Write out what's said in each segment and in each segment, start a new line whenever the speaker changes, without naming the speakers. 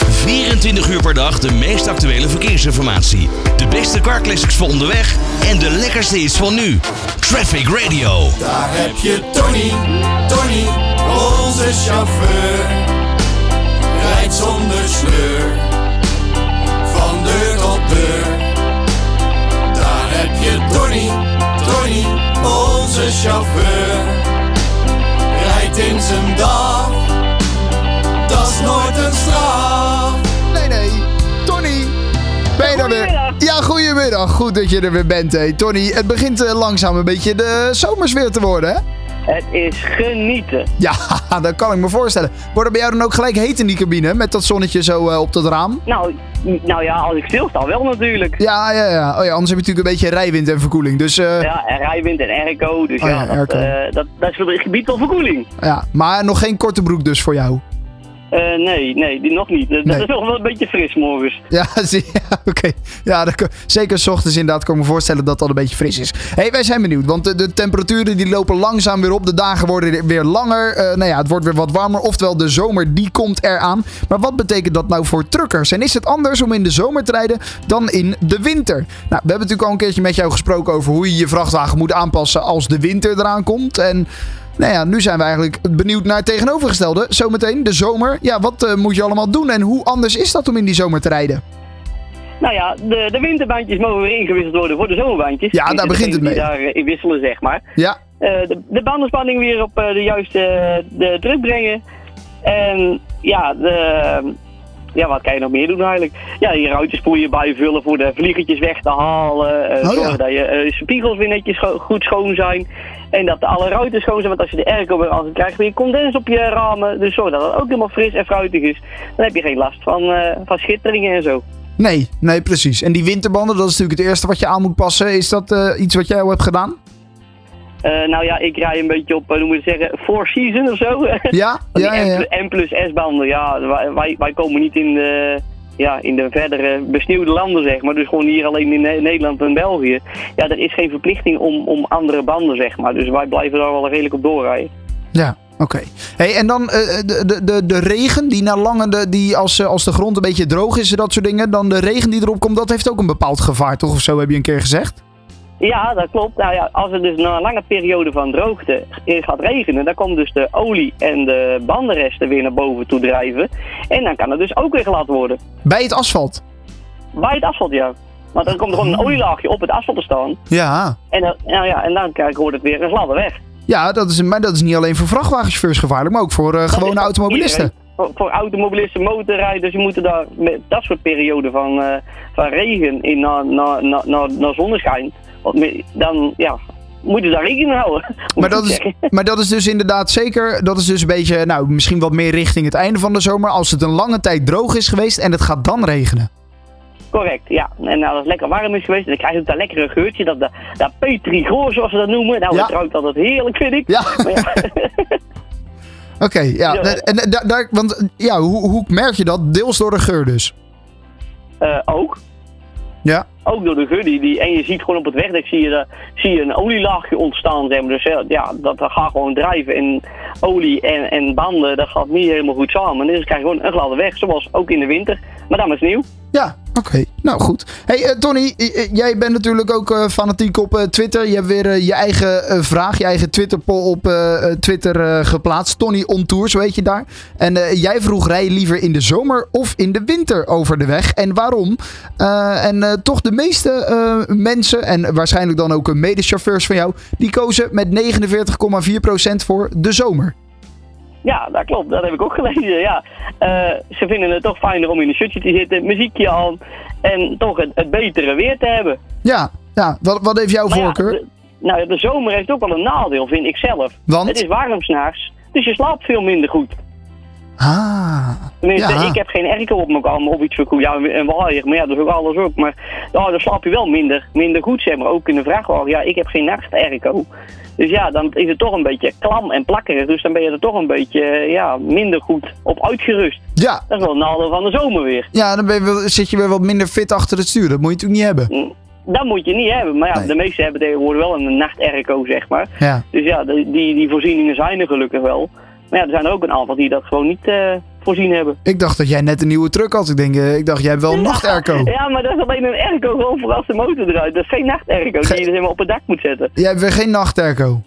24 uur per dag de meest actuele verkeersinformatie. De beste carclassics voor onderweg en de lekkerste is van nu. Traffic Radio.
Daar heb je Tony, Tony, onze chauffeur. Rijdt zonder sleur, van deur tot deur. Daar heb je Tony, Tony, onze chauffeur. Rijdt in zijn dag, dat is nooit een straf.
Nee, nee. Tony, ben je er weer?
Goedemiddag.
Ja, goedemiddag. Goed dat je er weer bent, hé. Tony, het begint eh, langzaam een beetje de zomersfeer te worden, hè?
Het is genieten.
Ja, dat kan ik me voorstellen. Wordt het bij jou dan ook gelijk heet in die cabine met dat zonnetje zo eh, op dat raam?
Nou, n- nou ja, als ik stilsta wel natuurlijk. Ja,
Ja, ja, ja. Oh ja, anders heb je natuurlijk een beetje rijwind en verkoeling. Dus eh, ja.
en rijwind en airco, dus
Oh ja,
ja, dat,
airco.
eh, dat, dat is voor het gebied van verkoeling.
maar nog geen korte broek dus voor jou.
Eh, nee, nee, die nog niet. Dat, dat
Nee.
is nog wel een beetje fris morgens.
Ja, zie- ja, oké. Ja, dat kan- zeker 's ochtends inderdaad kan ik me voorstellen dat dat een beetje fris is. hey, wij zijn benieuwd, want de, de temperaturen die lopen langzaam weer op. De dagen worden weer langer. Eh, nou ja, het wordt weer wat warmer. Oftewel, de zomer die komt eraan. Maar wat betekent dat nou voor truckers? En is het anders om in de zomer te rijden dan in de winter? Nou, we hebben natuurlijk al een keertje met jou gesproken over hoe je je vrachtwagen moet aanpassen als de winter eraan komt. En... Nou ja, nu zijn we eigenlijk benieuwd naar het tegenovergestelde. Zometeen, de zomer. Ja, wat eh, moet je allemaal doen en hoe anders is dat om in die zomer te rijden?
Nou ja, de, de winterbandjes mogen weer ingewisseld worden voor de zomerbandjes.
Ja, daar
Tenminste,
begint het
degene
mee.
Die daar eh, in wisselen, zeg maar.
Ja,
Eh, de, de bandenspanning weer op eh, de juiste eh, de druk brengen. En ja, de, ja, wat kan je nog meer doen eigenlijk? Ja, je ruitjespoeien bijvullen voor de vliegertjes weg te halen. eh,
Oh ja.
Zorgen dat je eh, spiegels weer netjes scho- goed schoon zijn. En dat alle ruiten schoon zijn, want als je de airco weer aan krijgt, weer condens op je ramen. Dus zorg dat het ook helemaal fris en fruitig is. Dan heb je geen last van, eh, van schitteringen en zo.
nee, nee, precies. En die winterbanden, dat is natuurlijk het eerste wat je aan moet passen. Is dat eh, iets wat jij al hebt gedaan?
Eh, nou ja, ik rij een beetje op, eh, hoe moet je het zeggen, four season of zo.
Ja,
Die
ja, ja. ja.
N plus S-banden, ja, wij- wij, wij komen niet in de, ja, in de verdere besneeuwde landen, zeg maar. Dus gewoon hier alleen in Ne- Nederland en België. Ja, er is geen verplichting om, om andere banden, zeg maar. Dus wij blijven daar wel redelijk op doorrijden.
Ja, oké. Hey, en dan eh, de, de, de, de regen, die na lange, de- die als, eh, als de grond een beetje droog is en dat soort dingen. Dan de regen die erop komt, dat heeft ook een bepaald gevaar, toch? Of zo heb je een keer gezegd?
Ja, dat klopt. Nou ja, als het dus na een lange periode van droogte gaat regenen, dan komt dus de olie en de bandenresten weer naar boven toe drijven. En dan kan het dus ook weer glad worden.
Bij het asfalt.
Bij het asfalt, ja. Want dan komt er gewoon een olielaagje op het asfalt te staan.
Ja.
En dan, nou ja, en dan kijk, wordt het weer een gladde weg.
Ja, dat is, maar dat is niet alleen voor vrachtwagenchauffeurs gevaarlijk, maar ook voor eh, gewone
Dat is voor
automobilisten.
iedereen. Voor, voor automobilisten, motorrijders, je moeten daar met dat soort perioden van, eh, van regen in naar, naar, naar, naar, naar zonneschijn. Want me- dan ja, moeten ze daar rekening mee houden. moet
Maar
ik
dat, is,
zeggen.
maar dat is dus inderdaad zeker. Dat is dus een beetje, nou, misschien wat meer richting het einde van de zomer. Als het een lange tijd droog is geweest en het gaat dan regenen.
Correct, ja. En nou, als het lekker warm is geweest, dan krijg je ook dat lekkere geurtje, dat, dat, dat petrigoor zoals ze dat noemen. Nou,
Ja.
dat ruikt altijd heerlijk, vind ik.
Ja.
Maar ja,
Oké, ja.
Ja.
En, en daar, daar- want ja, hoe, hoe merk je dat? Deels door de geur dus.
eh, ook.
Ja.
Ook door de geur. Die, die, en je ziet gewoon op het wegdek zie je, de- zie je een olielaagje ontstaan. Zeg maar. Dus ja, ja, dat gaat gewoon drijven. En olie en, en banden, dat gaat niet helemaal goed samen. Dus dan krijg je gewoon een gladde weg. Zoals ook in de winter. Maar dan is nieuw.
Ja, oké. Nou goed. Hey eh, Tony, eh, eh, jij bent natuurlijk ook eh, fanatiek op eh, Twitter. Je hebt weer eh, je eigen eh, vraag, je eigen Twitterpoll op eh, eh, Twitter eh, geplaatst. Tony on Tour, zo heet je daar. En eh, jij vroeg, rij je liever in de zomer of in de winter over de weg? En waarom? Eh, en eh, toch de meeste eh, mensen, en waarschijnlijk dan ook eh, medechauffeurs van jou, die kozen met 49,4% voor de zomer.
Ja, dat klopt. Dat heb ik ook gelezen. Ja. Eh, ze vinden het toch fijner om in een shirtje te zitten. Muziekje aan. En toch het, het betere weer te hebben.
Ja, ja. Wat, wat heeft jouw
Maar ja,
voorkeur?
de- nou, ja, de zomer heeft ook wel een nadeel, vind ik zelf.
Want?
Het is warm s'nachts. Dus je slaapt veel minder goed.
Ah,
Tenminste,
Ja.
ik heb geen airco op mijn kamer of iets voor koe. Ja, en waaaier, maar ja, dat is ook alles op. Maar ja, dan slaap je wel minder, minder goed, zeg maar. Ook in de vrachtwagen. Ja, ik heb geen nachtairco. Dus ja, dan is het toch een beetje klam en plakkerig. Dus dan ben je er toch een beetje eh, ja, minder goed op uitgerust.
ja.
Dat is wel een nadeel van de zomer weer.
Ja, dan ben je wel- zit je weer wat minder fit achter het stuur. Dat moet je natuurlijk niet hebben.
Hm, Dat moet je niet hebben. Maar ja,
Nee.
de meesten hebben tegenwoordig wel een nachtairco, zeg maar.
Ja.
Dus ja, de- die, die voorzieningen zijn er gelukkig wel. Maar ja, er zijn er ook een aantal die dat gewoon niet, eh, voorzien hebben.
Ik dacht dat jij net een nieuwe truck had. Ik, denk, eh, ik dacht, jij hebt wel een nachterco.
Ja, maar dat is alleen een airco gewoon voor als de motor eruit. Dat is geen nachtairco die je dus helemaal op het dak moet zetten.
Jij hebt weer geen nachterco.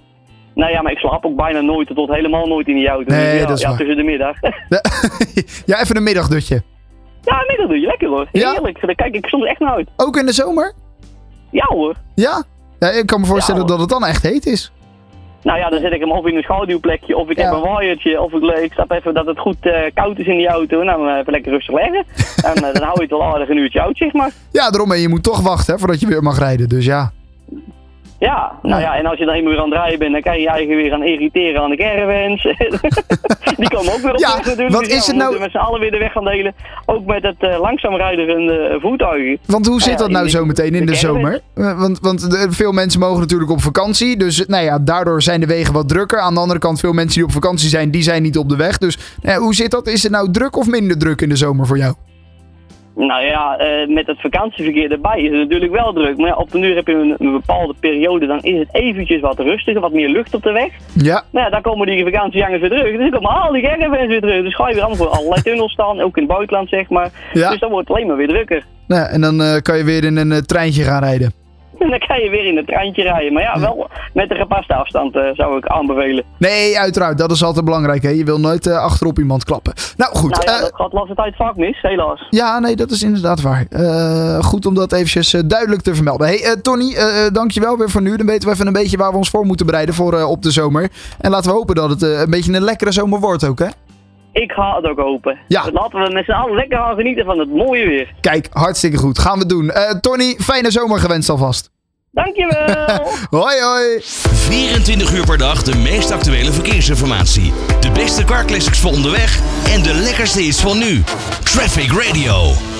Nou ja, maar ik slaap ook bijna nooit tot helemaal nooit in die auto.
Nee,
Dus ja,
dat is
ja,
waar.
tussen de middag.
ja, even een middagdutje.
ja, nee, dat doe je lekker hoor.
Ja?
Heerlijk. Daar kijk ik soms echt naar uit.
Ook in de zomer?
Ja hoor.
Ja? ja ik kan me voorstellen
Ja,
dat
hoor.
het dan echt heet is.
Nou ja, dan zet ik hem of in een schaduwplekje, of ik
Ja.
heb een waaiertje, of ik, ik snap even dat het goed eh, koud is in die auto. En dan eh, even lekker rustig leggen. en eh, dan hou je het wel aardig een uurtje oud, zeg maar.
Ja, daarom. En je moet toch wachten hè, voordat je weer mag rijden. Dus ja.
Ja, nou ja, en als je dan eenmaal weer aan het rijden bent, dan kan je je eigen weer gaan irriteren aan de caravans. die komen ook weer op
Ja,
terug natuurlijk.
wat
Dus
is
we
het nou-
moeten met z'n allen weer de weg gaan delen. Ook met het eh, langzaam rijdende eh, voertuigen.
Want hoe zit
ja,
dat
in
nou
de-
zo meteen in
de
de zomer? Eh, Want, want de- veel mensen mogen natuurlijk op vakantie. Dus eh, nou ja, daardoor zijn de wegen wat drukker. Aan de andere kant, veel mensen die op vakantie zijn, die zijn niet op de weg. Dus nou ja, hoe zit dat? Is het nou druk of minder druk in de zomer voor jou?
Nou ja, eh, met het vakantieverkeer erbij is het natuurlijk wel druk. Maar ja, op de duur heb je een, een bepaalde periode, dan is het eventjes wat rustiger, wat meer lucht op de weg.
Ja,
Nou ja, dan komen die vakantiejangers weer terug. Dus dan komen al die caravans weer terug. Dus ga je weer allemaal voor allerlei tunnels staan, ook in het buitenland zeg maar.
Ja.
Dus dan wordt het alleen maar weer drukker.
Nou, en dan eh, kan je weer in een eh, treintje gaan rijden.
En dan kan je weer in het treintje rijden. Maar ja, wel met een gepaste afstand eh, zou ik aanbevelen.
Nee, uiteraard. Dat is altijd belangrijk. Hè? Je wil nooit eh, achterop iemand klappen. Nou goed.
Nou ja,
eh,
dat gaat laatste tijd vaak mis, helaas.
Ja, nee, dat is inderdaad waar. Eh, goed om dat eventjes eh, duidelijk te vermelden. hey, eh, Tony, eh, eh, dankjewel weer voor nu. Dan weten we even een beetje waar we ons voor moeten bereiden voor eh, op de zomer. En laten we hopen dat het eh, een beetje een lekkere zomer wordt ook, hè?
Ik ga het ook hopen.
Ja.
Laten we met z'n allen lekker gaan genieten van het mooie weer.
Kijk, hartstikke goed. Gaan we doen. Eh, Tony, fijne zomer gewenst alvast.
Dankjewel!
Hoi, hoi.
24 uur per dag de meest actuele verkeersinformatie. De beste carclassics voor onderweg en de lekkerste is van nu. Traffic Radio.